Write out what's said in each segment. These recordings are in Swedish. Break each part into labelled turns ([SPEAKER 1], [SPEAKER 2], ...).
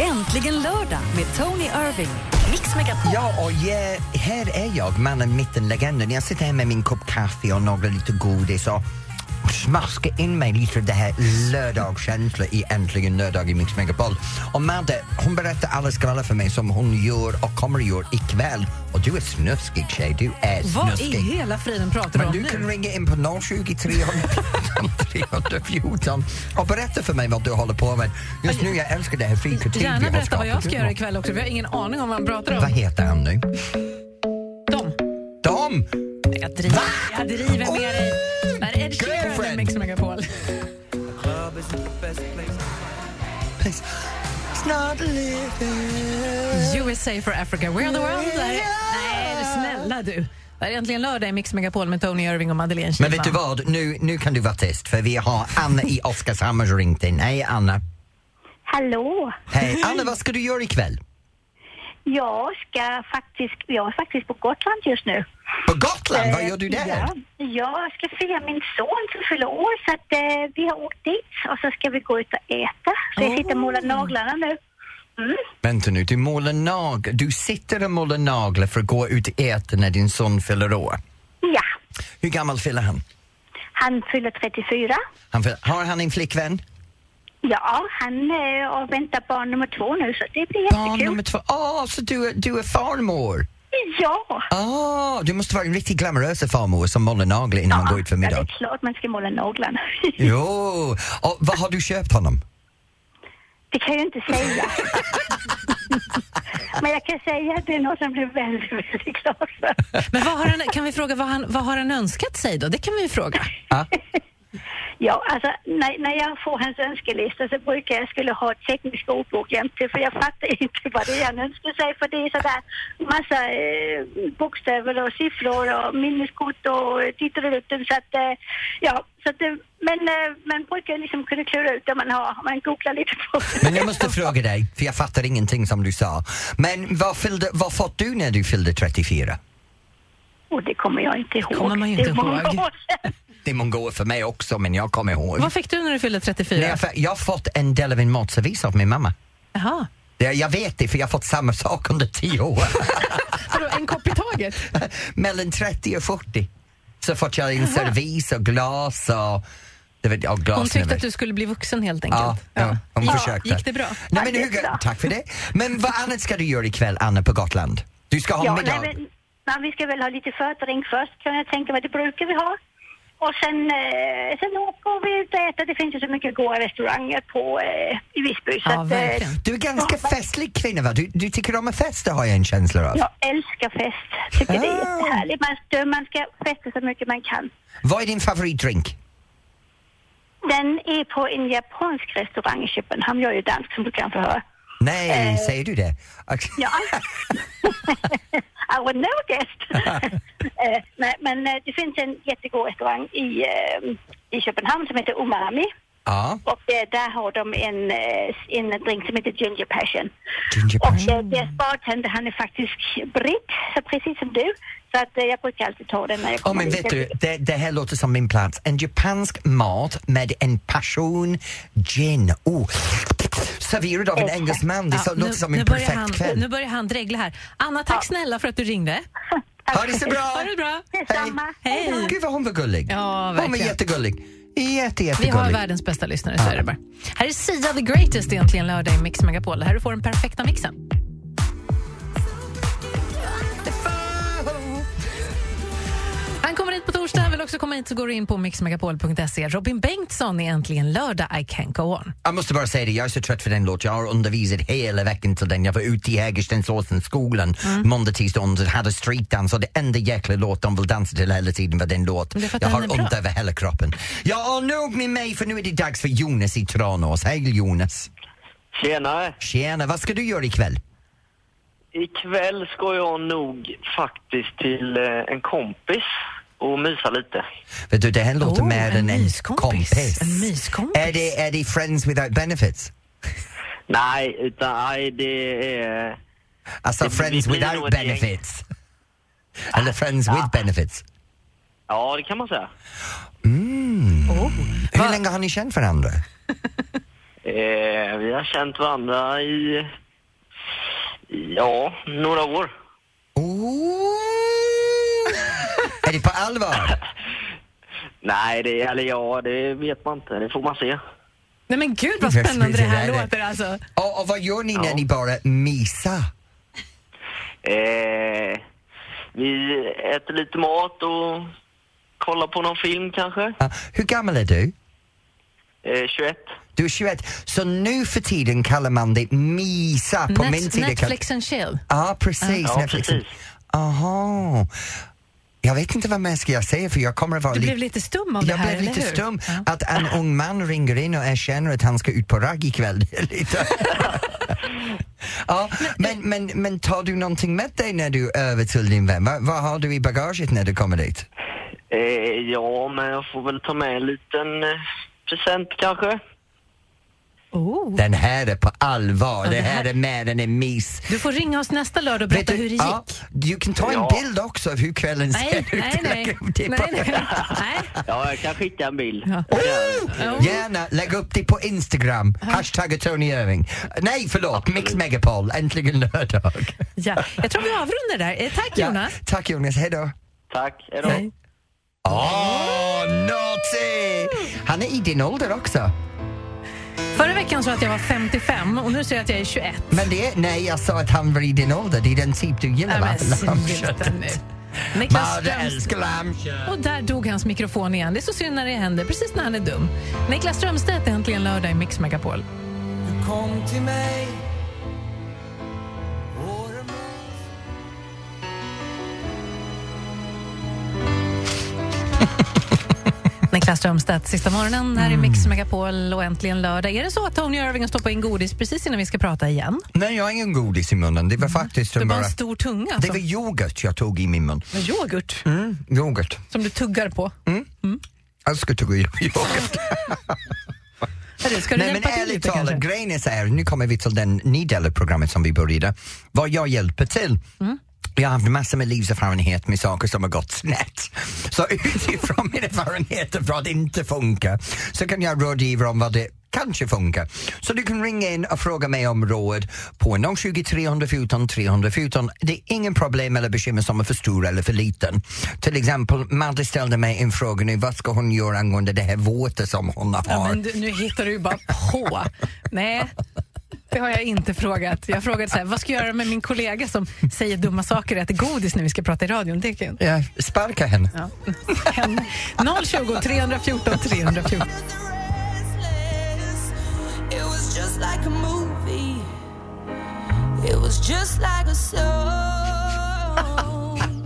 [SPEAKER 1] Äntligen lördag med Tony Irving. Mix Megapol.
[SPEAKER 2] Ja, och jag, här är jag, mannen, mitten, legenden. Jag sitter här med min kopp kaffe och några lite godis och smaskar in mig lite det här lördagskänslan i Äntligen lördag i Mix Megapol. Och Madde, hon berättar alla skvaller för mig som hon gör och kommer att göra ikväll. Och du är snuskig tjej, du är
[SPEAKER 1] Vad i
[SPEAKER 2] snuskig.
[SPEAKER 1] hela friden pratar du
[SPEAKER 2] Men
[SPEAKER 1] om
[SPEAKER 2] du
[SPEAKER 1] nu?
[SPEAKER 2] kan ringa in på 020 314 314 och berätta för mig vad du håller på med. Just nu, jag älskar det här fika
[SPEAKER 3] Gärna berätta vad jag ska göra ikväll också, för jag har ingen aning om vad han pratar
[SPEAKER 2] Vad
[SPEAKER 3] om.
[SPEAKER 2] heter han nu?
[SPEAKER 3] Dem.
[SPEAKER 2] Dom!
[SPEAKER 3] Jag driver, jag driver
[SPEAKER 2] Oh,
[SPEAKER 3] med dig. Det här är Ed Sheeran i
[SPEAKER 2] girlfriend.
[SPEAKER 3] Mix Megapol.
[SPEAKER 2] Please. It's not living.
[SPEAKER 3] USA for Africa, we're the world. Det här är- Nej, snälla du. Det här är äntligen lördag i Mix Megapol med Tony Irving och Madeleine Kihlman.
[SPEAKER 2] Men vet du vad, nu, nu kan du vara tyst för vi har Anna i Oskarshamn som ringt in. Hej Anna!
[SPEAKER 4] Hallå!
[SPEAKER 2] Hej Anna, vad ska du göra ikväll?
[SPEAKER 4] Jag ska faktiskt, jag är faktiskt på Gotland just nu.
[SPEAKER 2] På Gotland, vad gör du
[SPEAKER 4] Eh,
[SPEAKER 2] där?
[SPEAKER 4] Ja, jag ska fira min son som fyller år så att eh, vi har åkt dit och så ska vi gå ut och äta. Så jag sitter och målar naglarna nu. Mm.
[SPEAKER 2] Vänta nu, du målar naglar. Du sitter och målar naglar för att gå ut och äta när din son fyller år.
[SPEAKER 4] Ja,
[SPEAKER 2] Hur gammal fyller han?
[SPEAKER 4] han fyller 34.
[SPEAKER 2] han fyller, har han en flickvän?
[SPEAKER 4] Ja, han eh, och väntar barn nummer två nu så det blir
[SPEAKER 2] Barn
[SPEAKER 4] jättekul.
[SPEAKER 2] nummer två. Åh, så du, är- du är farmor?
[SPEAKER 4] Ja!
[SPEAKER 2] Ah, du måste vara en riktigt glamorös farmor som målar naglar innan man går ut för
[SPEAKER 4] Ja,
[SPEAKER 2] middag.
[SPEAKER 4] det är klart man ska måla naglarna.
[SPEAKER 2] Jo, och vad har du köpt honom?
[SPEAKER 4] Det kan jag ju inte säga. Men jag kan säga att det är något som blir väldigt, väldigt glad för.
[SPEAKER 3] Men vad har han, kan vi fråga vad han, vad har han önskat sig då? Det kan vi ju fråga.
[SPEAKER 2] Ah,
[SPEAKER 4] Ja, alltså när, när jag får hans önskelista så brukar jag skulle ha ett tekniskt ordbok jämte för jag fattar inte vad det är han önskar sig för det är sådär massa eh, bokstäver och siffror och minneskort och eh, ditt och dutten så att eh, ja, så att det, men eh, man brukar liksom kunna klura ut det man har om man googlar lite på det.
[SPEAKER 2] Men jag måste fråga dig, för jag fattar ingenting som du sa. Men vad, fyllde, vad fått du när du fyllde 34?
[SPEAKER 4] Och det kommer jag inte ihåg.
[SPEAKER 3] Kommer man ju
[SPEAKER 4] Det är
[SPEAKER 3] inte
[SPEAKER 4] många
[SPEAKER 3] ihåg.
[SPEAKER 4] år sedan.
[SPEAKER 2] Det är många år för mig också, men jag kommer ihåg.
[SPEAKER 3] Vad fick du när du fyllde
[SPEAKER 2] Nej,
[SPEAKER 3] 34?
[SPEAKER 2] jag, fa- jag har fått en del av en matservis av min mamma.
[SPEAKER 3] Jaha.
[SPEAKER 2] Det- Jag vet det, för jag har fått samma sak under tio år.
[SPEAKER 3] Vadå, en kopp i taget?
[SPEAKER 2] Mellan 30 och 40 så fått jag en servis och glas och... Det vet, jag, och glas
[SPEAKER 3] Hon tyckte
[SPEAKER 2] nu.
[SPEAKER 3] att du skulle bli vuxen helt
[SPEAKER 2] Ja,
[SPEAKER 3] enkelt.
[SPEAKER 2] ja, hon
[SPEAKER 3] Gick-
[SPEAKER 2] försökte.
[SPEAKER 3] Gick det bra?
[SPEAKER 2] Nej, men
[SPEAKER 4] Ja, det
[SPEAKER 2] hur,
[SPEAKER 4] gick bra.
[SPEAKER 2] tack för det. Men vad annat ska du göra ikväll, Anna, på Gotland? Du ska ha
[SPEAKER 4] Ja,
[SPEAKER 2] middag.
[SPEAKER 4] nej, men, men vi ska väl ha lite fötering först kan jag tänka mig. Det brukar vi ha. Och sen, eh, sen åker vi ut och äter. Det finns ju så mycket goda restauranger på, eh, i Visby. Så
[SPEAKER 3] Ja,
[SPEAKER 4] att, eh,
[SPEAKER 3] verkligen.
[SPEAKER 2] Du är ganska festlig kvinna, va? Du, du tycker om att festa, har jag en känsla av.
[SPEAKER 4] jag älskar fest. Tycker det är
[SPEAKER 2] Ah.
[SPEAKER 4] jättehärligt. Man, stö- man ska festa så mycket man kan.
[SPEAKER 2] Vad är din favoritdrink?
[SPEAKER 4] Den är på en japansk restaurang i Köpenhamn. Jag är ju dansk som du kanske hör.
[SPEAKER 2] Nej, säger du det? Okej.
[SPEAKER 4] Ja. I would never guessed. Eh, nej, men eh, det finns en jättegod restaurang i, eh, i Köpenhamn som heter Umami.
[SPEAKER 2] Ja.
[SPEAKER 4] Och eh, där har de en, eh, en drink som heter Ginger Passion.
[SPEAKER 2] Ginger
[SPEAKER 4] Och
[SPEAKER 2] passion.
[SPEAKER 4] eh, deras bartender han är faktiskt britt, så precis som du. Så att eh, jag brukar alltid ta den när jag
[SPEAKER 2] Oh,
[SPEAKER 4] kommer
[SPEAKER 2] men vet
[SPEAKER 4] dit.
[SPEAKER 2] du, det, det här låter som min plats. En japansk mat med en passion gin. Oh. Serverad av en
[SPEAKER 4] Exakt.
[SPEAKER 2] engelsman. Det så-
[SPEAKER 3] Ja,
[SPEAKER 2] låter som en
[SPEAKER 3] börjar
[SPEAKER 2] perfekt
[SPEAKER 3] han, Nu
[SPEAKER 2] kväll.
[SPEAKER 3] börjar han dregla här. Anna, tack snälla för att du ringde.
[SPEAKER 2] Ha det så bra!
[SPEAKER 3] Ha det bra.
[SPEAKER 4] Detsamma.
[SPEAKER 3] Hej.
[SPEAKER 2] Gud vad hon var gullig.
[SPEAKER 3] Ja,
[SPEAKER 2] hon var
[SPEAKER 3] verkligen.
[SPEAKER 2] jättegullig. Jätte,
[SPEAKER 3] Vi
[SPEAKER 2] jättegullig.
[SPEAKER 3] har världens bästa lyssnare, så är det bara. Här är Sia the Greatest egentligen lördag i Mix Megapol. Här du får den perfekta mixen. Han kommer hit på torsdag. Han vill också komma hit så går du in på mixmegapol.se. Robin Bengtsson är äntligen lördag I can't go on.
[SPEAKER 2] Jag måste bara säga det, jag är så trött för den låten. Jag har undervisat hela veckan till den. Jag var ute i Hägerstensåsens skolan
[SPEAKER 3] Mm.
[SPEAKER 2] måndag, tisdag, onsdag, hade streetdans och det enda jäkla låt de vill dansa till hela tiden var den låt.
[SPEAKER 3] det är för att
[SPEAKER 2] Jag
[SPEAKER 3] den
[SPEAKER 2] har
[SPEAKER 3] är bra.
[SPEAKER 2] ont över hela kroppen. Ja, och nog med mig för nu är det dags för Jonas i Tranås. Hej Jonas!
[SPEAKER 5] Tjenare!
[SPEAKER 2] Tjena, vad ska du göra ikväll?
[SPEAKER 5] Ikväll ska jag nog faktiskt till eh, en kompis och mysa lite.
[SPEAKER 2] Vet du, det här låter
[SPEAKER 3] Oh,
[SPEAKER 2] mer
[SPEAKER 3] en
[SPEAKER 2] än en
[SPEAKER 3] myskompis.
[SPEAKER 2] kompis.
[SPEAKER 3] En myskompis.
[SPEAKER 2] Är det, är det Friends Without Benefits?
[SPEAKER 5] Nej, utan nej, det är...
[SPEAKER 2] Alltså
[SPEAKER 5] Det- det
[SPEAKER 2] Friends
[SPEAKER 5] blir nog
[SPEAKER 2] Without
[SPEAKER 5] ett gäng.
[SPEAKER 2] Benefits. Eller Friends With Benefits.
[SPEAKER 5] Ja, det kan man säga.
[SPEAKER 3] Oh.
[SPEAKER 2] Hur
[SPEAKER 3] Va-
[SPEAKER 2] länge har ni känt varandra?
[SPEAKER 5] Eh, Eh, vi har känt varandra i, ja, några år.
[SPEAKER 2] Ooh. Oh! är det på allvar?
[SPEAKER 5] Nej, det, eller ja, det vet man inte. Det får man se.
[SPEAKER 3] Nej men gud vad
[SPEAKER 2] Yes,
[SPEAKER 3] spännande det här
[SPEAKER 2] det är det.
[SPEAKER 3] låter alltså.
[SPEAKER 2] Och, och vad gör ni när
[SPEAKER 5] Ja.
[SPEAKER 2] ni bara misar?
[SPEAKER 5] Eh, vi äter lite mat och kollar på någon film kanske.
[SPEAKER 2] Ja, hur gammal är du?
[SPEAKER 5] Eh, 21.
[SPEAKER 2] Du är 21. Så nu för tiden kallar man det misa. På min
[SPEAKER 3] Net-
[SPEAKER 2] tid det kall-
[SPEAKER 3] Netflix and chill.
[SPEAKER 2] Ja, precis.
[SPEAKER 5] Ja,
[SPEAKER 2] Netflix.
[SPEAKER 5] precis.
[SPEAKER 2] Aha. Jag vet inte vad mer ska jag säga för jag kommer att vara
[SPEAKER 3] Du
[SPEAKER 2] li-
[SPEAKER 3] blev lite stum av
[SPEAKER 2] jag
[SPEAKER 3] det här,
[SPEAKER 2] blev lite
[SPEAKER 3] eller hur?
[SPEAKER 2] stum.
[SPEAKER 3] Ja.
[SPEAKER 2] Att en ung man ringer in och erkänner att han ska ut på ragg ikväll. det är lite- ja, men, men, men tar du någonting med dig när du är över till din vän? Va, vad har du i bagaget när du kommer dit?
[SPEAKER 5] Eh, ja, men jag får väl ta med en liten eh, present kanske.
[SPEAKER 2] Ah.
[SPEAKER 3] Oh.
[SPEAKER 2] Den här är på allvar. det
[SPEAKER 3] det
[SPEAKER 2] här
[SPEAKER 3] här-
[SPEAKER 2] är mer än en mis.
[SPEAKER 3] Du får ringa oss nästa lördag och berätta
[SPEAKER 2] Vet du-
[SPEAKER 3] hur det gick.
[SPEAKER 2] ja, du kan ta en
[SPEAKER 5] Ja.
[SPEAKER 2] bild också av hur kvällen
[SPEAKER 3] Nej,
[SPEAKER 2] ser
[SPEAKER 3] nej,
[SPEAKER 2] ut.
[SPEAKER 3] nej.
[SPEAKER 2] Lägg upp det
[SPEAKER 3] nej,
[SPEAKER 2] på-
[SPEAKER 3] nej. nej.
[SPEAKER 5] Ja, jag kan skicka en bild.
[SPEAKER 3] Ja.
[SPEAKER 2] Gärna, lägg upp det på Instagram. Hashtagga Tony Irving. Nej, förlåt, Mix Megapol. Äntligen lördag.
[SPEAKER 3] Ja. Jag tror vi avrundar där. Eh, Tack
[SPEAKER 2] Ja,
[SPEAKER 3] Jonas.
[SPEAKER 2] Tack Jonas, hej då.
[SPEAKER 5] Tack, hejdå.
[SPEAKER 3] Hej.
[SPEAKER 2] Åh, Naughty! Han är i din ålder också.
[SPEAKER 3] Förra veckan sa jag att jag var 55 och nu säger jag att jag är 21.
[SPEAKER 2] Men det är, nej, jag sa att han var i din ålder. Det är den typ du
[SPEAKER 3] Nej,
[SPEAKER 2] gillar, va?
[SPEAKER 3] men sluta
[SPEAKER 2] Lammköttet.
[SPEAKER 3] nu. Niklas
[SPEAKER 2] Madde
[SPEAKER 3] Strömstedt.
[SPEAKER 2] älskar lammkött.
[SPEAKER 3] Och där dog hans mikrofon igen. Det är så synd när det händer, precis när han är dum. Niklas Strömstedt är äntligen lördag i Mix Megapol.
[SPEAKER 6] Kom till mig
[SPEAKER 3] Niklas Strömstedt, sista morgonen här i
[SPEAKER 2] Mm.
[SPEAKER 3] Mix Megapol och äntligen lördag. Är det så att Tony Irving har stoppat in godis precis innan vi ska prata igen?
[SPEAKER 2] Nej, jag har ingen godis i munnen. Det var faktiskt
[SPEAKER 3] Mm. Det var
[SPEAKER 2] bara...
[SPEAKER 3] en stor tunga
[SPEAKER 2] Det
[SPEAKER 3] alltså.
[SPEAKER 2] var yoghurt jag tog i min mun.
[SPEAKER 3] med yoghurt
[SPEAKER 2] Mm, yoghurt.
[SPEAKER 3] som du tuggar på.
[SPEAKER 2] Jag ska tugga i yoghurt.
[SPEAKER 3] Eller, ska du
[SPEAKER 2] Nej men
[SPEAKER 3] hjälpa till
[SPEAKER 2] ärligt
[SPEAKER 3] lite
[SPEAKER 2] talat,
[SPEAKER 3] kanske?
[SPEAKER 2] grejen är så här, nu kommer vi till den ny del av programmet som vi började. Vad jag hjälper till.
[SPEAKER 3] Mm.
[SPEAKER 2] Jag har haft massor med livserfarenhet med saker som har gått snett. Så utifrån min erfarenhet av vad inte funkar så kan jag rådgiva om vad det kanske funkar. Så du kan ringa in och fråga mig om råd på 020 314 314. Det är ingen problem eller bekymmer som är för stor eller för liten. Till exempel, Madde ställde mig en fråga nu, vad ska hon göra angående det här våtet som hon har?
[SPEAKER 3] Ja, men du, nu hittar du ju bara på. Nej, det har jag inte frågat. Jag frågade så här, vad ska jag göra med min kollega som säger dumma saker och äter godis när vi ska prata i radion? Det kan jag inte.
[SPEAKER 2] Ja, sparka henne.
[SPEAKER 3] Ja. Henne. 020 314 314.
[SPEAKER 7] It was just like a movie. It was just like a song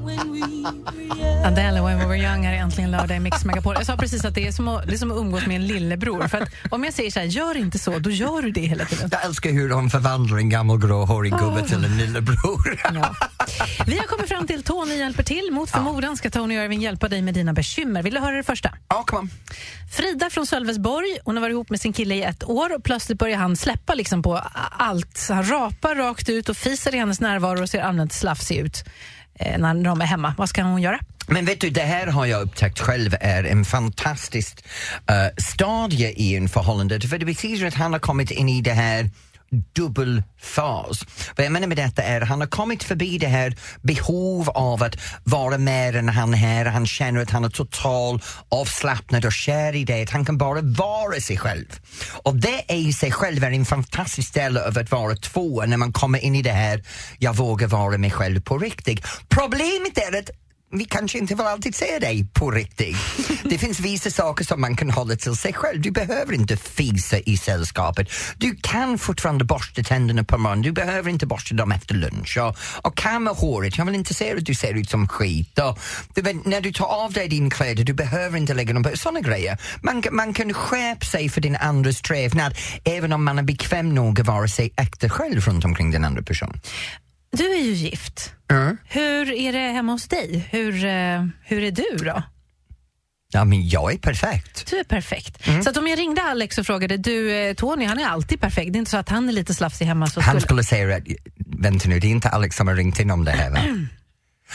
[SPEAKER 7] when we realized.
[SPEAKER 3] Adele och When We Were Young här är äntligen lördag i Mix Megapol. Jag sa precis att det är som att, det är som att umgås med en lillebror. För att om jag säger så här, gör inte så, då gör du det hela tiden.
[SPEAKER 2] Jag älskar hur hon förvandlar en gammal gråhårig gubbe till en lillebror.
[SPEAKER 3] Ja. Vi har kommit fram till Tony hjälper till. Mot förmodan ska Tony Irving hjälpa dig med dina bekymmer. Vill du höra det första?
[SPEAKER 2] Ja, kom on.
[SPEAKER 3] Frida från Sölvesborg, hon har varit ihop med sin kille i ett år och plötsligt börjar han släppa liksom på allt. Så Han rapar rakt ut och fiser i hennes närvaro och ser allmänt slafsig ut eh, när de är hemma. Vad ska hon göra?
[SPEAKER 2] Men vet du, det här har jag upptäckt själv är en fantastisk eh, stadie i en förhållande. För det betyder att han har kommit in i det här dubbelfas. Vad jag menar med detta är han har kommit förbi det här behov av att vara mer än han är. Han känner att han är total avslappnad och kär i det. Att han kan bara vara sig själv. Och det är i sig själv är en fantastisk del av att vara två när man kommer in i det här, jag vågar vara mig själv på riktigt. Problemet är att vi kanske inte vill alltid se dig på riktigt. Det finns vissa saker som man kan hålla till sig själv. Du behöver inte fisa i sällskapet. Du kan fortfarande borsta tänderna på morgonen. Du behöver inte borsta dem efter lunch. Och, och kamma håret. Jag vill inte se att du ser ut som skit. Och, du vet, när du tar av dig dina kläder, du behöver inte lägga dem på. Sådana grejer. Man, kan- man kan skärpa sig för din andres trevnad även om man är bekväm nog att vara sig äkta själv runt omkring den andra personen.
[SPEAKER 3] Du är ju gift. Hur är det hemma hos dig? Hur, eh, hur är du då?
[SPEAKER 2] Ja, men jag är perfekt.
[SPEAKER 3] Du är perfekt.
[SPEAKER 2] Mm.
[SPEAKER 3] Så att om jag ringde Alex och frågade, du eh, Tony han är alltid perfekt. Det är inte så att han är lite slafsig hemma. Så skulle...
[SPEAKER 2] Han skulle säga att, vänta nu, det är inte Alex som har ringt in om det här va?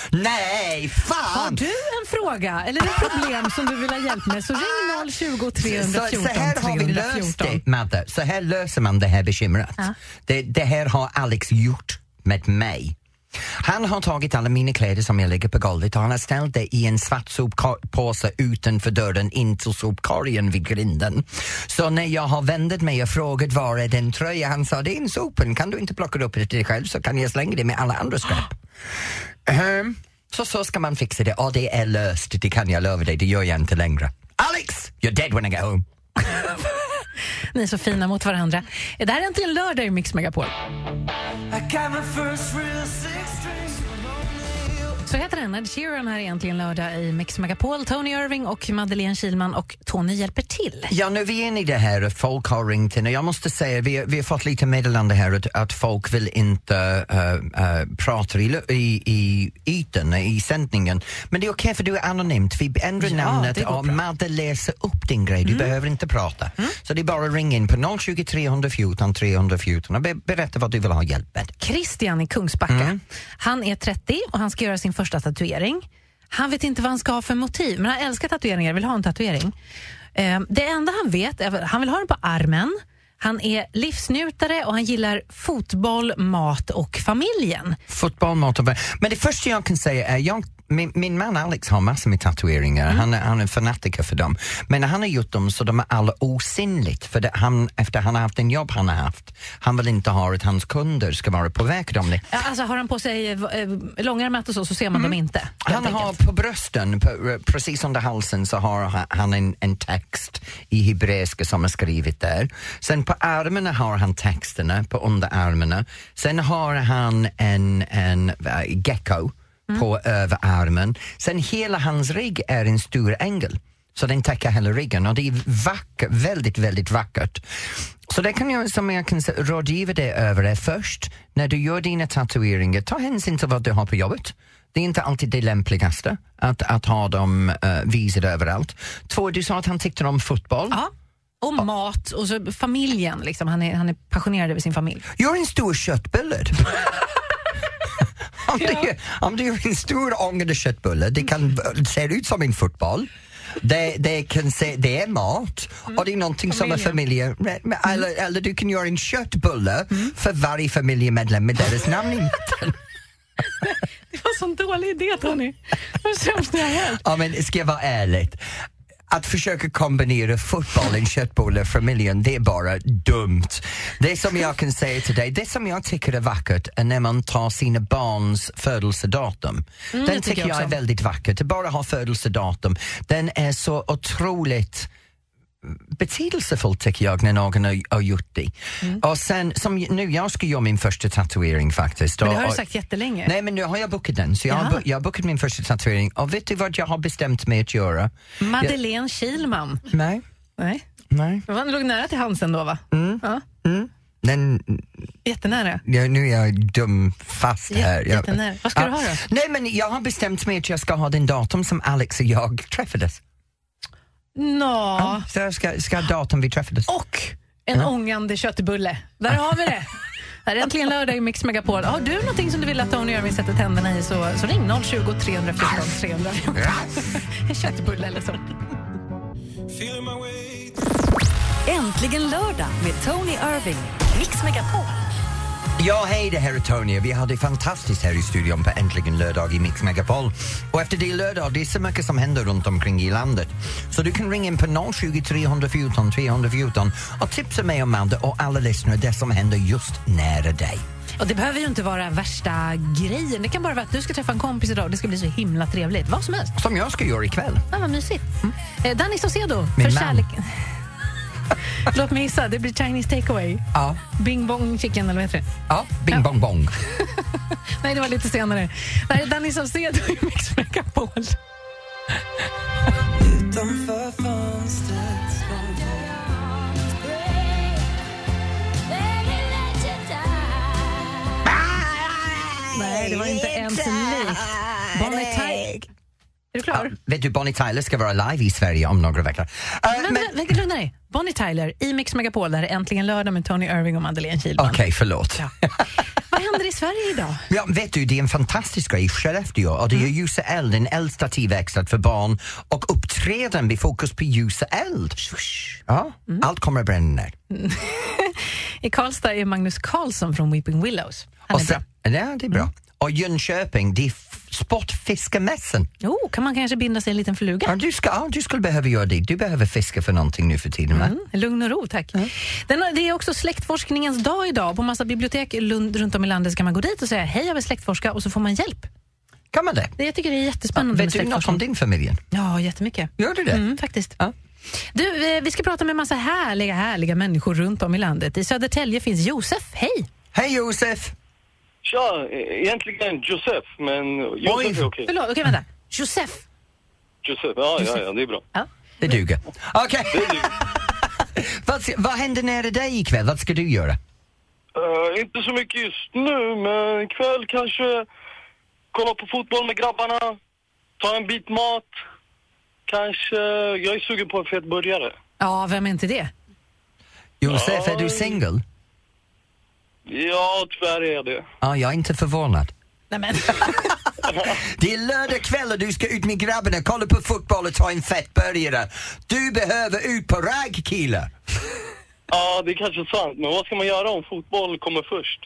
[SPEAKER 2] Nej,
[SPEAKER 3] Har
[SPEAKER 2] fan!
[SPEAKER 3] du en fråga eller ett problem som du vill ha hjälp med så ring 020
[SPEAKER 2] Så,
[SPEAKER 3] 314
[SPEAKER 2] så här har vi löst
[SPEAKER 3] 314.
[SPEAKER 2] det, Madde. Så här löser man det här bekymret. Det, det här har Alex gjort med mig. Han har tagit alla mina kläder som jag lägger på golvet och han har ställt det i en svart soppåse utanför dörren in till sopkorgen vid grinden. Så när jag har vänt mig och frågat var är den tröja, han sa det är en sopen, kan du inte plocka upp det till dig själv så kan jag slänga det med alla andra skräp. Ehm, så så ska man fixa det och det är löst, det kan jag lova dig, det gör jag inte längre. Alex, you're dead when I get home.
[SPEAKER 3] Ni är så fina mot varandra. Det här är äntligen lördag i Mix Megapol.
[SPEAKER 6] I got my first real six string.
[SPEAKER 3] Så heter den, Ed Sheeran här är äntligen lördag i Mix Megapol. Tony Irving och Madeleine Kilman och Tony hjälper till.
[SPEAKER 2] Ja, nu är vi inne i det här att folk har ringt in och jag måste säga, vi, vi har fått lite meddelande här att, att folk vill inte eh, eh, prata i, lu- i, i ytan, i sändningen. Men det är okej för du är anonymt. Vi ändrar
[SPEAKER 3] Ja, det
[SPEAKER 2] namnet
[SPEAKER 3] går
[SPEAKER 2] och
[SPEAKER 3] bra.
[SPEAKER 2] Madde läser upp din grej, du behöver inte prata. Så det är bara att ringa in på 020 314 314 och be, berätta vad du vill ha hjälp med.
[SPEAKER 3] Christian i Kungsbacka. Han är 30 och han ska göra sin första tatuering. Han vet inte vad han ska ha för motiv, men han älskar tatueringar, vill ha en tatuering. Eh, Det enda han vet är att han vill ha den på armen. Han är livsnjutare och han gillar fotboll, mat och familjen.
[SPEAKER 2] Fotboll, mat och... Men det första jag kan säga är, jag, min, min man Alex har massor med tatueringar, han, är, han är en fanatiker för dem. Men han har gjort dem så de är alla osynligt, för det, han, efter han har haft en jobb han har haft, han vill inte ha att hans kunder ska vara på väg dem.
[SPEAKER 3] Ja, Alltså har han på sig eh, eh, långärmat och så, så ser man dem inte. helt
[SPEAKER 2] Mm. Han
[SPEAKER 3] enkelt.
[SPEAKER 2] har på brösten, på, precis under halsen, så har ha- han en, en text i hebreiska som är skrivet där. Sen på armarna har han texterna, på underarmarna. Sen har han en, en eh, gecko
[SPEAKER 3] Mm.
[SPEAKER 2] på överarmen. Sen hela hans rygg är en stor ängel. Så den täcker hela ryggen och det är vackert, väldigt, väldigt vackert. Så det kan jag, som jag kan s- rådgiva dig över är först, när du gör dina tatueringar, ta hänsyn till vad du har på jobbet. Det är inte alltid det lämpligaste att, att ha dem uh, visade överallt. Två, du sa att han tyckte om fotboll.
[SPEAKER 3] Ja. Och mat och så familjen. Liksom. Han, är, han är passionerad över sin familj.
[SPEAKER 2] Gör en stor köttbulle. om, du, om du gör en stor ångade köttbulle, det kan se ut som en fotboll. Det, det, kan se, det är mat och det är någonting som är familje... Eller, eller du kan göra en köttbulle för varje familjemedlem med deras namn i mitten.
[SPEAKER 3] Det var en sån dålig idé, Tony. Det var det sämsta jag har hört.
[SPEAKER 2] Ja, men ska jag vara ärlig. Att försöka kombinera fotbollen, köttbullar, familjen, det är bara dumt. Det som jag kan säga till dig, det som jag tycker är vackert är när man tar sina barns födelsedatum.
[SPEAKER 3] Mm, det
[SPEAKER 2] Den
[SPEAKER 3] tycker
[SPEAKER 2] tycker
[SPEAKER 3] jag
[SPEAKER 2] jag, är
[SPEAKER 3] också.
[SPEAKER 2] väldigt vackert, att bara ha födelsedatum. Den är så otroligt betydelsefullt tycker jag när någon har, har gjort det.
[SPEAKER 3] Mm.
[SPEAKER 2] Och sen, som nu, jag ska göra min första tatuering faktiskt.
[SPEAKER 3] Men det har
[SPEAKER 2] Och-
[SPEAKER 3] du sagt jättelänge.
[SPEAKER 2] Nej, men nu har jag bokat den. Så jag, har,
[SPEAKER 3] Jaha.
[SPEAKER 2] bo- jag har bokat min första tatuering. Och vet du vad jag har bestämt mig att göra?
[SPEAKER 3] Madeleine Kilman.
[SPEAKER 2] Nej.
[SPEAKER 3] Nej.
[SPEAKER 2] Nej.
[SPEAKER 3] Det var- det låg nära till hands ändå, va?
[SPEAKER 2] Mm.
[SPEAKER 3] Ja,
[SPEAKER 2] Den,
[SPEAKER 3] jättenära.
[SPEAKER 2] ja, nu är jag dum fast
[SPEAKER 3] Jätte-
[SPEAKER 2] här. Jag,
[SPEAKER 3] jättenära. Vad ska du ha då?
[SPEAKER 2] Nej, men jag har bestämt mig att jag ska ha den datum som Alex och jag träffades.
[SPEAKER 3] Nå.
[SPEAKER 2] Så jag ska, ska ha datum vi träffades.
[SPEAKER 3] Och en ångande köttbulle. Där har vi det. Här är äntligen lördag i Mix Megapol. Har du någonting som du vill att Tony Irving sätter tänderna i så, så ring 020 314 314. En köttbulle eller så.
[SPEAKER 6] Feel my way.
[SPEAKER 1] Äntligen lördag med Tony Irving. Mix Megapol.
[SPEAKER 2] Ja, hej, det här är Tony och vi har det fantastiskt här i studion på Äntligen lördag i Mix Megapol. Och efter det är lördag, det är så mycket som händer runt omkring i landet. Så du kan ringa in på 020 314 314 och tipsa mig och Madde och alla lyssnare det som händer just nära dig.
[SPEAKER 3] Och det behöver ju inte vara värsta grejen. Det kan bara vara att du ska träffa en kompis idag och det ska bli så himla trevligt. Vad som helst.
[SPEAKER 2] Som jag ska göra ikväll.
[SPEAKER 3] Ah, vad mysigt. Eh, Danny Saucedo,
[SPEAKER 2] Min
[SPEAKER 3] för
[SPEAKER 2] man.
[SPEAKER 3] kärleken. Låt mig gissa, det blir Chinese takeaway.
[SPEAKER 2] Ja,
[SPEAKER 3] Bing bong chicken eller vad heter det?
[SPEAKER 2] ja, bing bong bong.
[SPEAKER 3] Nej, det var lite senare. Det här är Danny Saucedo i Mix Megapol.
[SPEAKER 6] Utanför fönstret.
[SPEAKER 3] Nej, det var inte ens likt. Bonnie Tyler. Är du klar?
[SPEAKER 2] Vet du, Bonnie Tyler ska vara live i Sverige om några veckor. Eh,
[SPEAKER 3] Men,
[SPEAKER 2] men-
[SPEAKER 3] men, men, lugna dig. Bonnie Tyler i Mix Megapol. Där är äntligen lördag med Tony Irving och Madeleine Kihlman.
[SPEAKER 2] Okej, förlåt.
[SPEAKER 3] Vad händer i Sverige idag?
[SPEAKER 2] Ja, vet du, det är en fantastisk grej i Skellefteå och det är Ljusa Eld, den äldsta tillväxten för barn och uppträden blir fokus på Ljusa Eld. Ja, allt kommer att bränna ner.
[SPEAKER 3] I Karlstad är Magnus Karlsson från Weeping Willows. Han
[SPEAKER 2] Och
[SPEAKER 3] är
[SPEAKER 2] sen, ja, det är bra. Och Jönköping, det är f- Sportfiskemässan.
[SPEAKER 3] bra. Oh, kan man kanske binda sig en liten fluga?
[SPEAKER 2] Ja, du, ska, ja, du skulle behöva göra det. Du behöver fiska för någonting nu för tiden, va?
[SPEAKER 3] Lugn och ro, tack. Den, det är också släktforskningens dag idag. På massa bibliotek i Lund, runt om i landet ska man gå dit och säga hej, jag vill släktforska och så får man hjälp.
[SPEAKER 2] Kan man det?
[SPEAKER 3] Det, jag tycker det är jättespännande med
[SPEAKER 2] Vet du något om
[SPEAKER 3] släktforskning.
[SPEAKER 2] din familj?
[SPEAKER 3] Ja, jättemycket.
[SPEAKER 2] Gör du det?
[SPEAKER 3] Mm, faktiskt.
[SPEAKER 2] Ja.
[SPEAKER 3] Du, eh, vi ska prata med en massa härliga, härliga människor runt om i landet. I Södertälje finns Josef, hej!
[SPEAKER 2] Hej Josef!
[SPEAKER 8] Tja, egentligen Josef, men Josef är okej.
[SPEAKER 3] Förlåt, okej
[SPEAKER 2] Mm.
[SPEAKER 3] vänta. Josef!
[SPEAKER 8] Josef, ja, ja, ja, det är bra.
[SPEAKER 3] Ja.
[SPEAKER 2] Det duger. Okej,
[SPEAKER 8] Det är-
[SPEAKER 2] vad, ska- vad händer nära dig ikväll? Vad ska du göra?
[SPEAKER 8] Eh, inte så mycket just nu, men ikväll kanske kolla på fotboll med grabbarna, ta en bit mat, kanske... Jag är sugen på en fet burgare.
[SPEAKER 3] Ja, vem är inte det?
[SPEAKER 2] Josef, är du
[SPEAKER 8] Oj.
[SPEAKER 2] singel?
[SPEAKER 8] Ja, tyvärr är jag det.
[SPEAKER 2] Ah, jag är inte förvånad.
[SPEAKER 3] Nej, men.
[SPEAKER 2] Det är lördag kväll och du ska ut med grabbarna, kolla på fotboll och ta en fettburgare. Du behöver ut på ragg killar!
[SPEAKER 8] Ja, det är kanske sant, men vad ska man göra om fotboll kommer först?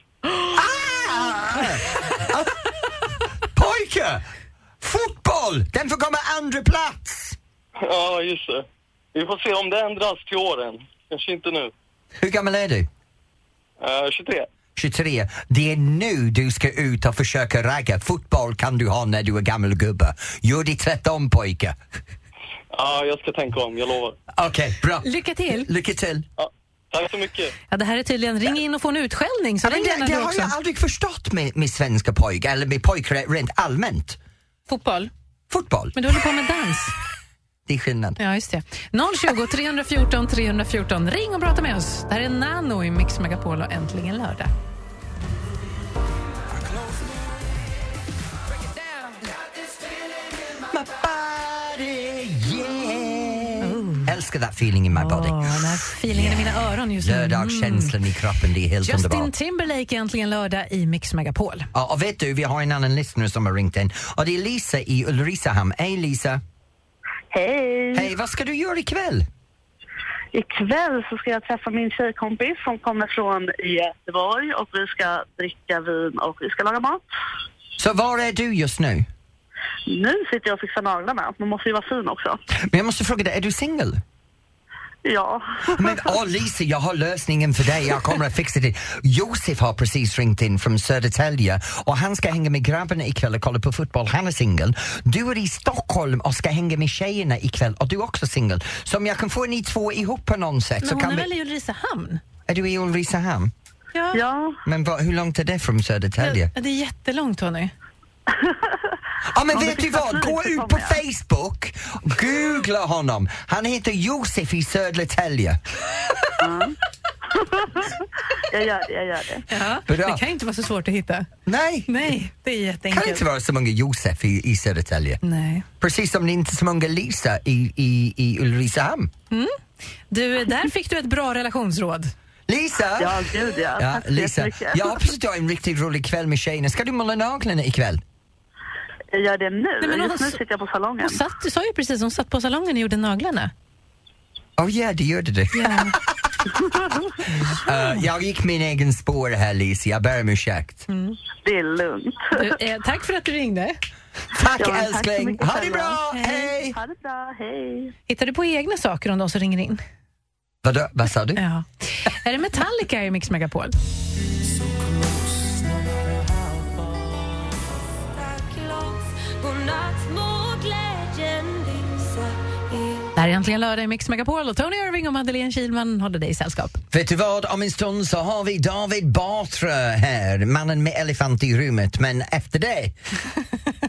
[SPEAKER 2] Pojkar! Fotboll! Den får komma andra plats!
[SPEAKER 8] Ja, just det. Vi får se om det ändras till åren. Kanske inte nu.
[SPEAKER 2] Hur gammal är du?
[SPEAKER 8] Eh, 23.
[SPEAKER 2] 23. Det är nu du ska ut och försöka ragga. Fotboll kan du ha när du är gammal gubbe. Gör det tvärtom pojkar.
[SPEAKER 8] Ja, jag ska tänka om, jag lovar.
[SPEAKER 2] Okej, bra.
[SPEAKER 3] Lycka till!
[SPEAKER 2] Lycka till.
[SPEAKER 8] Ja, tack så mycket.
[SPEAKER 3] Ja, det här är tydligen ring in och få en utskällning. Så
[SPEAKER 2] Men
[SPEAKER 3] ring gärna
[SPEAKER 2] det, det
[SPEAKER 3] du
[SPEAKER 2] har
[SPEAKER 3] också.
[SPEAKER 2] jag aldrig förstått med, med svenska pojkar, eller med pojkar rent allmänt.
[SPEAKER 3] Fotboll?
[SPEAKER 2] Fotboll,
[SPEAKER 3] Men du håller på med dans.
[SPEAKER 2] det är skillnad.
[SPEAKER 3] Ja, just det. 020 314 314. Ring och prata med oss. Det här är Nano i Mix Megapol och äntligen lördag.
[SPEAKER 2] My body, yeah. Älskar that feeling in my body.
[SPEAKER 3] Åh, den här feelingen i mina öron just nu. Mm.
[SPEAKER 2] Lördagskänslan i kroppen, det är helt
[SPEAKER 3] Justin
[SPEAKER 2] underbart.
[SPEAKER 3] Timberlake äntligen lördag i Mix Megapol.
[SPEAKER 2] Ja, och vet du, vi har en annan lyssnare som har ringt in. Och det är Lisa i Ulricehamn. Hej Lisa!
[SPEAKER 4] Hej!
[SPEAKER 2] Hej, vad ska du göra ikväll?
[SPEAKER 4] Ikväll så ska jag träffa min tjejkompis som kommer från Göteborg och vi ska dricka vin och vi ska laga mat.
[SPEAKER 2] Så var är du just nu?
[SPEAKER 4] Nu sitter jag och fixar naglarna. Man måste ju vara fin också.
[SPEAKER 2] Men jag måste fråga dig, är du singel?
[SPEAKER 4] Ja.
[SPEAKER 2] Men åh Lisa, jag har lösningen för dig. Jag kommer att fixa det. Josef har precis ringt in från Södertälje och han ska hänga med grabbarna ikväll och kolla på fotboll. Han är singel. Du är i Stockholm och ska hänga med tjejerna ikväll och du är också singel. Så om jag kan få ni två ihop på något sätt
[SPEAKER 3] Men
[SPEAKER 2] så
[SPEAKER 3] hon
[SPEAKER 2] kan
[SPEAKER 3] är
[SPEAKER 2] vi...
[SPEAKER 3] väl i Ulricehamn?
[SPEAKER 2] Är du i Ulricehamn?
[SPEAKER 3] Ja.
[SPEAKER 4] Ja.
[SPEAKER 2] Men vad, hur långt är det från Södertälje?
[SPEAKER 3] Ja, det är jättelångt, Tony.
[SPEAKER 2] Ja men
[SPEAKER 4] Ja, det
[SPEAKER 2] vet du
[SPEAKER 4] finns
[SPEAKER 2] vad,
[SPEAKER 4] absolut
[SPEAKER 2] gå
[SPEAKER 4] inte
[SPEAKER 2] ut på
[SPEAKER 4] många.
[SPEAKER 2] Facebook, googla honom. Han heter Josef i Södertälje.
[SPEAKER 4] Jag gör det, jag gör det.
[SPEAKER 3] Ja.
[SPEAKER 2] Bra.
[SPEAKER 3] Det kan ju inte vara så svårt att hitta.
[SPEAKER 2] Nej,
[SPEAKER 3] Nej, det är
[SPEAKER 2] kan
[SPEAKER 3] jätteenkelt.
[SPEAKER 2] det inte vara så många Josef i, i Södertälje.
[SPEAKER 3] Nej.
[SPEAKER 2] Precis som det inte är så många Lisa i, i, i Ulricehamn.
[SPEAKER 3] Du, där fick du ett bra relationsråd.
[SPEAKER 2] Lisa!
[SPEAKER 4] Ja, gud ja.
[SPEAKER 2] Ja,
[SPEAKER 4] Tack så
[SPEAKER 2] Lisa.
[SPEAKER 4] jättemycket.
[SPEAKER 2] Jag hoppas att du har en riktigt rolig kväll med tjejerna. Ska du måla naglarna ikväll?
[SPEAKER 4] Jag gör det nu.
[SPEAKER 3] Nej, men hon-
[SPEAKER 4] Just
[SPEAKER 2] alltså-
[SPEAKER 4] nu sitter jag på salongen.
[SPEAKER 3] Hon satt, du sa ju precis, hon satt på salongen och gjorde naglarna.
[SPEAKER 2] Åh ja, Oh, det gjorde du. Eh, jag gick min egen spår här Lisa, jag ber om ursäkt.
[SPEAKER 4] Mm. Det är lugnt.
[SPEAKER 3] Du, eh, tack för att du ringde.
[SPEAKER 2] Tack
[SPEAKER 4] Ja, men tack så
[SPEAKER 2] älskling,
[SPEAKER 4] mycket
[SPEAKER 2] ha det
[SPEAKER 4] själva.
[SPEAKER 2] bra,
[SPEAKER 3] Hej.
[SPEAKER 2] hej!
[SPEAKER 4] Ha det bra, hej.
[SPEAKER 3] Hittar du på egna saker om de som ringer in?
[SPEAKER 2] Vadå, vad sa du?
[SPEAKER 3] Ja. Är det Metallica i Mix Megapol? Det här är äntligen lördag i Mix Megapol och Tony Irving och Madeleine Kilman håller dig i sällskap.
[SPEAKER 2] Vet du vad, om en stund så har vi David Batra här, mannen med elefant i rummet. Men efter det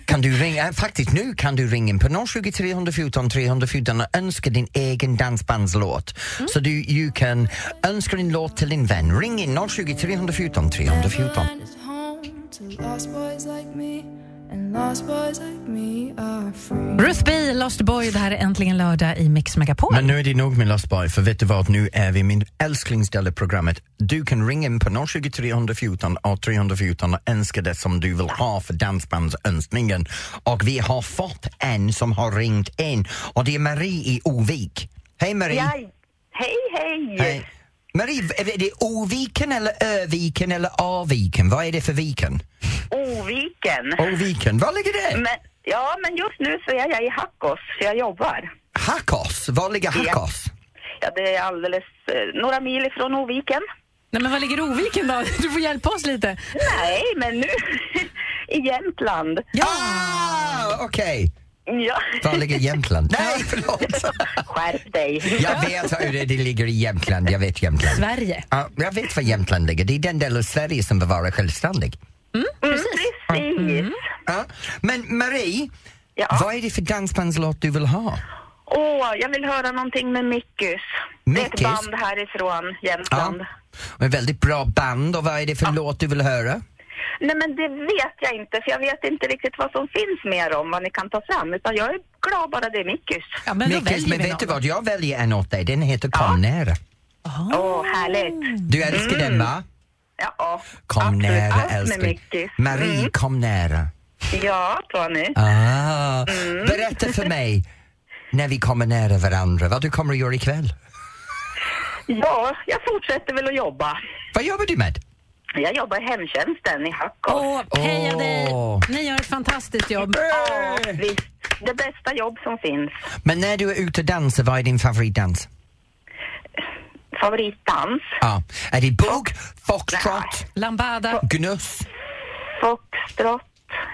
[SPEAKER 2] kan du ringa, eh, faktiskt nu kan du ringa in på 020 314 314 och önska din egen dansbandslåt. Så du you kan önska din låt till din vän. Ring in 020 314 314.
[SPEAKER 9] It's home to lost boys like me And lost boys like me are free.
[SPEAKER 3] Ruth B, Lost Boy, det här är äntligen lördag i Mix Megapol.
[SPEAKER 2] Men nu är det nog med Lost Boy, för vet du vad, nu är vi i min älsklingsdel i programmet. Du kan ringa in på 020 314 och 314 och önska det som du vill ha för dansbandsönskningen. Och vi har fått en som har ringt in och det är Marie i Ovik. Hej Marie!
[SPEAKER 4] Ja, hej, hej!
[SPEAKER 2] Hej. Marie, v- är det Oviken eller Öviken eller Aviken? Vad är det för viken?
[SPEAKER 4] Oviken.
[SPEAKER 2] Oviken, var ligger det?
[SPEAKER 4] Men, ja, men just nu så är jag i Hackås, för jag jobbar.
[SPEAKER 2] Hackås, var ligger
[SPEAKER 4] Ja.
[SPEAKER 2] Hackås?
[SPEAKER 4] Ja, det är alldeles eh, några mil ifrån Oviken.
[SPEAKER 3] Nej, men var ligger Oviken då? Du får hjälpa oss lite.
[SPEAKER 4] Nej, men nu i Jämtland.
[SPEAKER 2] Ja! Ah, Okej,
[SPEAKER 4] Ja.
[SPEAKER 2] var ligger Jämtland? Nej, förlåt!
[SPEAKER 4] Skärp dig. Mm,
[SPEAKER 2] Jag vet hur det, det ligger i Jämtland, jag vet Jämtland.
[SPEAKER 3] Sverige.
[SPEAKER 2] Ja, jag vet var Jämtland ligger, det är den del av Sverige som vill vara självständig.
[SPEAKER 4] Mm, precis.
[SPEAKER 2] Ja. Men Marie,
[SPEAKER 4] Ja.
[SPEAKER 2] vad är det för dansbandslåt du vill ha?
[SPEAKER 4] Åh, jag vill höra någonting med Mickus. Det är ett
[SPEAKER 2] Mickus?
[SPEAKER 4] band härifrån Jämtland.
[SPEAKER 2] En väldigt bra band och vad är det för låt du vill höra?
[SPEAKER 4] Nej, men det vet jag inte, för jag vet inte riktigt vad som finns mer om vad ni kan ta fram, utan jag är glad bara det är Mickus.
[SPEAKER 3] Ja, men då
[SPEAKER 2] Micke,
[SPEAKER 3] väljer
[SPEAKER 2] men
[SPEAKER 3] vi
[SPEAKER 2] vet du
[SPEAKER 3] någon.
[SPEAKER 2] vad, jag väljer en åt dig, den heter Kom nära.
[SPEAKER 4] Åh, härligt.
[SPEAKER 2] Du älskar den va?
[SPEAKER 4] Ja,
[SPEAKER 2] Kom
[SPEAKER 4] absolut.
[SPEAKER 2] nära
[SPEAKER 4] Allt med
[SPEAKER 2] älskling.
[SPEAKER 4] Mickus.
[SPEAKER 2] Marie,
[SPEAKER 4] Mm.
[SPEAKER 2] kom nära.
[SPEAKER 4] Ja, Tony.
[SPEAKER 2] Ah. Berätta för mig, när vi kommer nära varandra, vad du kommer att göra ikväll?
[SPEAKER 4] Ja, jag fortsätter väl att jobba.
[SPEAKER 2] Vad jobbar du med?
[SPEAKER 4] Jag jobbar i hemtjänsten i Hackås.
[SPEAKER 3] Åh, heja
[SPEAKER 2] Åh.
[SPEAKER 3] dig! Ni gör ett fantastiskt jobb.
[SPEAKER 4] Ja, visst. Det bästa jobb som finns.
[SPEAKER 2] Men när du är ute och dansar, vad är din favoritdans?
[SPEAKER 4] Favoritdans.
[SPEAKER 2] Ja. Är det bog, foxtrot,
[SPEAKER 3] Lambada.
[SPEAKER 2] gnuss?
[SPEAKER 4] Foxtrot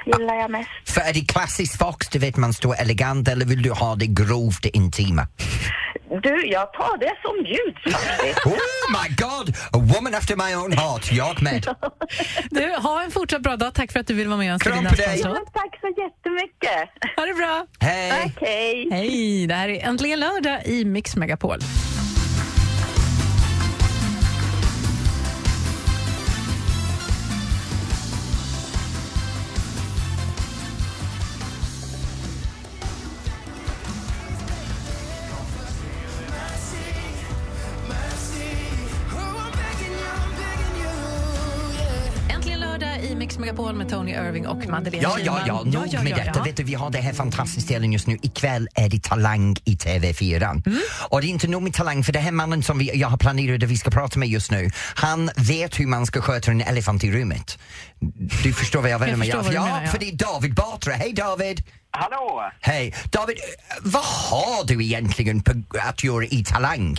[SPEAKER 4] gillar jag mest.
[SPEAKER 2] För är det klassisk fox, du vet man står elegant, eller vill du ha det grovt och intima?
[SPEAKER 4] Du, jag tar det som bjuds faktiskt.
[SPEAKER 2] Oh my god! A woman after my own heart, jag med.
[SPEAKER 3] Du, ha en fortsatt bra dag. Tack för att du vill vara med och önska
[SPEAKER 2] Kram
[SPEAKER 3] din
[SPEAKER 2] på dig.
[SPEAKER 3] dansbandslåt.
[SPEAKER 4] Men tack så jättemycket.
[SPEAKER 3] Ha det bra!
[SPEAKER 2] Hej!
[SPEAKER 4] Tack, hej.
[SPEAKER 3] Hej! Det här är Äntligen lördag i Mix Megapol. Äntligen lördag i Mix Megapol med Tony Irving och Madeleine
[SPEAKER 2] Ja, ja, ja,
[SPEAKER 3] Kilman.
[SPEAKER 2] nog med detta. Vet du, vi har det här fantastiska delen just nu. Ikväll är det Talang i TV4. Och det är inte nog med Talang, för det här mannen som vi, jag har planerat att vi ska prata med just nu, han vet hur man ska sköta en elefant i rummet. Du förstår vad jag menar? med
[SPEAKER 3] förstår
[SPEAKER 2] ja,
[SPEAKER 3] vad du
[SPEAKER 2] ja,
[SPEAKER 3] menar, ja.
[SPEAKER 2] för det är David Batra. Hej David!
[SPEAKER 5] Hallå!
[SPEAKER 2] Hej! David, eh, vad har du egentligen på, att göra i Talang?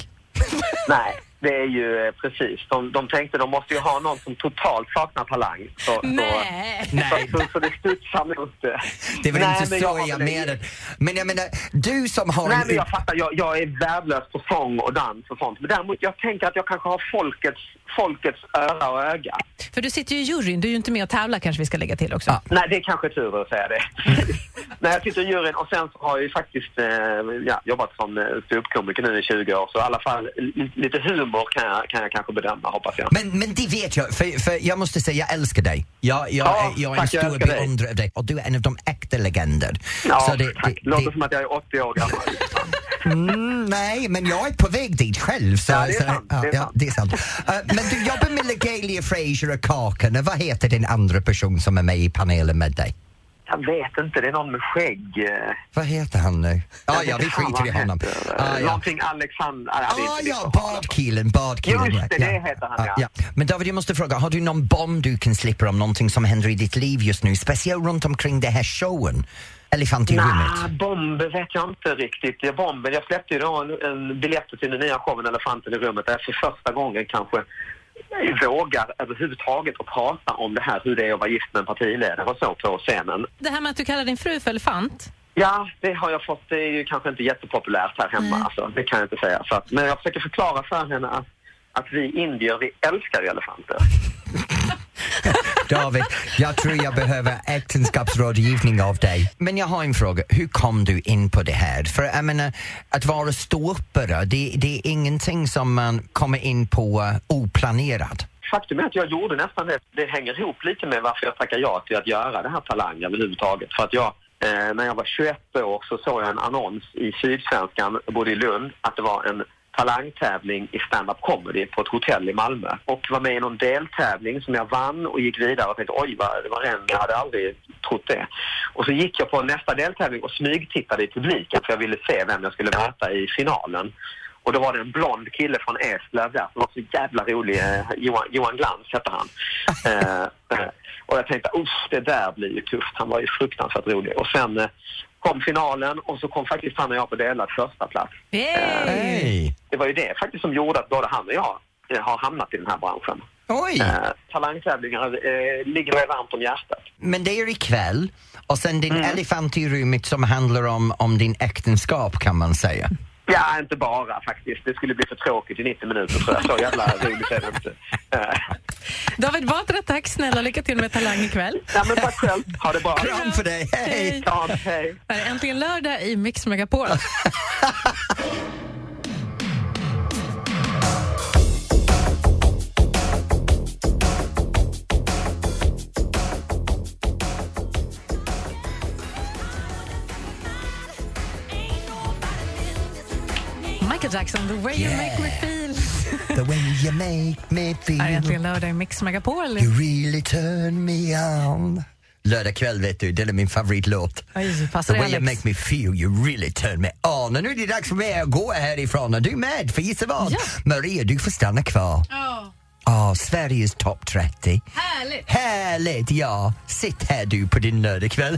[SPEAKER 5] Nej, det är ju eh, precis. De, de tänkte de måste ju ha någon som totalt saknar talang. Så, så-
[SPEAKER 3] Nej!
[SPEAKER 2] Nej.
[SPEAKER 5] Så, så, så det studsar nog inte.
[SPEAKER 2] Det var
[SPEAKER 5] Nej,
[SPEAKER 2] inte så
[SPEAKER 5] men
[SPEAKER 2] jag,
[SPEAKER 5] har väl en-
[SPEAKER 2] menade. Men jag menar, du som har
[SPEAKER 5] Nej,
[SPEAKER 2] en
[SPEAKER 5] men jag fattar. Jag, jag är värdelös på sång och dans och sånt. Men däremot, jag tänker att jag kanske har folkets, folkets öra och öga.
[SPEAKER 3] För du sitter ju i juryn, du är ju inte med och tävlar kanske vi ska lägga till också.
[SPEAKER 2] Ja.
[SPEAKER 5] Nej, det är kanske tur att säga det. Nej, jag sitter i juryn och sen så har jag ju faktiskt eh, ja, jobbat som eh, ståuppkomiker nu i 20 år. Så i alla fall li- lite humor kan jag, kan jag kanske bedöma, hoppas jag.
[SPEAKER 2] Men, men det vet jag, för, för jag måste säga jag älskar dig. Jag, jag,
[SPEAKER 5] Ja,
[SPEAKER 2] är- jag är en
[SPEAKER 5] tack, jag
[SPEAKER 2] stor
[SPEAKER 5] älskar dig.
[SPEAKER 2] beundrare av dig och du är en av de äkta legender.
[SPEAKER 5] Ja,
[SPEAKER 2] Så det-
[SPEAKER 5] tack.
[SPEAKER 2] det-
[SPEAKER 5] Låter
[SPEAKER 2] det-
[SPEAKER 5] som att jag är 80 år gammal.
[SPEAKER 2] Mm, nej, men jag är på väg dit själv. Så,
[SPEAKER 5] Ja, det är
[SPEAKER 2] så-
[SPEAKER 5] sant,
[SPEAKER 2] ja,
[SPEAKER 5] det är
[SPEAKER 2] ja,
[SPEAKER 5] sant.
[SPEAKER 2] det är sant. Eh, men du jobbar med Legalia Fraser och Kakan. Vad heter den andra person som är med i panelen med dig?
[SPEAKER 5] Jag vet inte, det är någon med skägg. eh.
[SPEAKER 2] Vad heter han nu? Ja, Ah, ja, vi
[SPEAKER 5] vet fan
[SPEAKER 2] skiter i
[SPEAKER 5] vad han
[SPEAKER 2] honom. Ah,
[SPEAKER 5] heter.
[SPEAKER 2] Ja, ja.
[SPEAKER 5] Någonting Alexander... nej, det är
[SPEAKER 2] Ah,
[SPEAKER 5] inte
[SPEAKER 2] ja,
[SPEAKER 5] det.
[SPEAKER 2] badkillen, badkillen.
[SPEAKER 5] Just det,
[SPEAKER 2] ja.
[SPEAKER 5] det heter han, ja.
[SPEAKER 2] Men David, jag måste fråga, har du någon bomb du kan slippa om någonting som händer i ditt liv just nu? Speciellt runt omkring det här showen, Elefant i
[SPEAKER 5] Nej,
[SPEAKER 2] rummet.
[SPEAKER 5] bomber vet jag inte riktigt. Jag, bomber, jag släppte ju då en, en biljett till den nya showen Elefanten i rummet där jag för första gången kanske vågar överhuvudtaget att prata om det här hur det är att vara gift med en partiledare och så på scenen.
[SPEAKER 3] Det här med att du kallar din fru för elefant,
[SPEAKER 5] Ja, det har jag fått. Det är ju kanske inte jättepopulärt här hemma, alltså, det kan jag inte säga. Så att, men jag försöker förklara för henne att, att vi indier, vi älskar ju elefanter.
[SPEAKER 2] David, jag tror jag behöver äktenskapsrådgivning av dig. Men jag har en fråga, hur kom du in på det här? För jag menar, att vara ståuppare, det, det är ingenting som man kommer in på eh, oplanerat.
[SPEAKER 5] faktum är att jag gjorde nästan det. Det hänger ihop lite med varför jag tackar ja till att göra det här Talang överhuvudtaget. För att jag, eh, när jag var 21 år så såg jag en annons i Sydsvenskan, både i Lund, att det var en talangtävling i stand-up comedy på ett hotell i Malmö. Och var med i någon deltävling som jag vann och gick vidare och tänkte oj, vad det var en, jag hade aldrig trott det. Och så gick jag på nästa deltävling och smygtittade i publiken för jag ville se vem jag skulle möta i finalen. Och då var det en blond kille från Eslöv där som var så jävla rolig. Eh, Johan, Johan Glans hette han. Eh, eh, och jag tänkte, usch det där blir ju tufft. Han var ju fruktansvärt rolig. Och sen eh, kom finalen och så kom faktiskt han och jag på delad första plats. Mm.
[SPEAKER 3] Yay!
[SPEAKER 2] Hej!
[SPEAKER 5] Det var ju det faktiskt som gjorde att både han och jag eh, har hamnat i den här branschen.
[SPEAKER 2] Oj!
[SPEAKER 5] Eh, talangtävlingar eh, ligger mig varmt om hjärtat.
[SPEAKER 2] Men det är ikväll och sen din elefant i rummet som handlar om, om din äktenskap kan man säga.
[SPEAKER 5] Ja, inte bara faktiskt. Det skulle bli för tråkigt i 90 minuter tror jag. Så jävla roligt är det inte. Eh,
[SPEAKER 3] David Batra, tack snälla. Lycka till med Talang ikväll.
[SPEAKER 5] nej, men tack själv. Ha det bra.
[SPEAKER 2] Kram för dig, hej!
[SPEAKER 5] Kram, hej.
[SPEAKER 3] Här är äntligen lördag i Mix Megapol. Michael Jackson, the way you make me feel.
[SPEAKER 2] The way you make me
[SPEAKER 3] Här är äntligen
[SPEAKER 2] feel,
[SPEAKER 3] lördag i Mix Megapol.
[SPEAKER 2] you really turn me on. Lördag kväll vet du, det är min favoritlåt.
[SPEAKER 3] Oj, passar
[SPEAKER 2] The
[SPEAKER 3] det
[SPEAKER 2] way you
[SPEAKER 3] Alex?
[SPEAKER 2] make me feel, you really turn me on. Och nu är det dags för mig att gå härifrån. Är du med? För gissa vad?
[SPEAKER 3] Ja.
[SPEAKER 2] Maria, du får stanna kvar. Ja, Sveriges topp 30.
[SPEAKER 3] Härligt!
[SPEAKER 2] Härligt, ja. Sitt här du på din lördagkväll.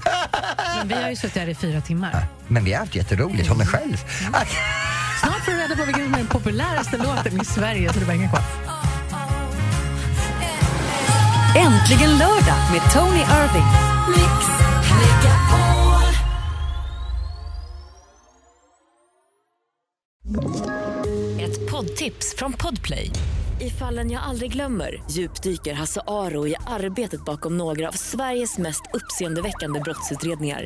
[SPEAKER 3] Men vi har ju suttit här i fyra timmar.
[SPEAKER 2] Men vi har haft jätteroligt, håll mig själv.
[SPEAKER 3] Snart får du reda på vilken som är den populäraste låten i Sverige. Så du bara hänger kvar.
[SPEAKER 1] Äntligen lördag med Tony Irving.
[SPEAKER 10] Ett poddtips från Podplay. I fallen jag aldrig glömmer djupdyker Hasse Alltså, Aro i arbetet bakom några av Sveriges mest uppseendeväckande brottsutredningar.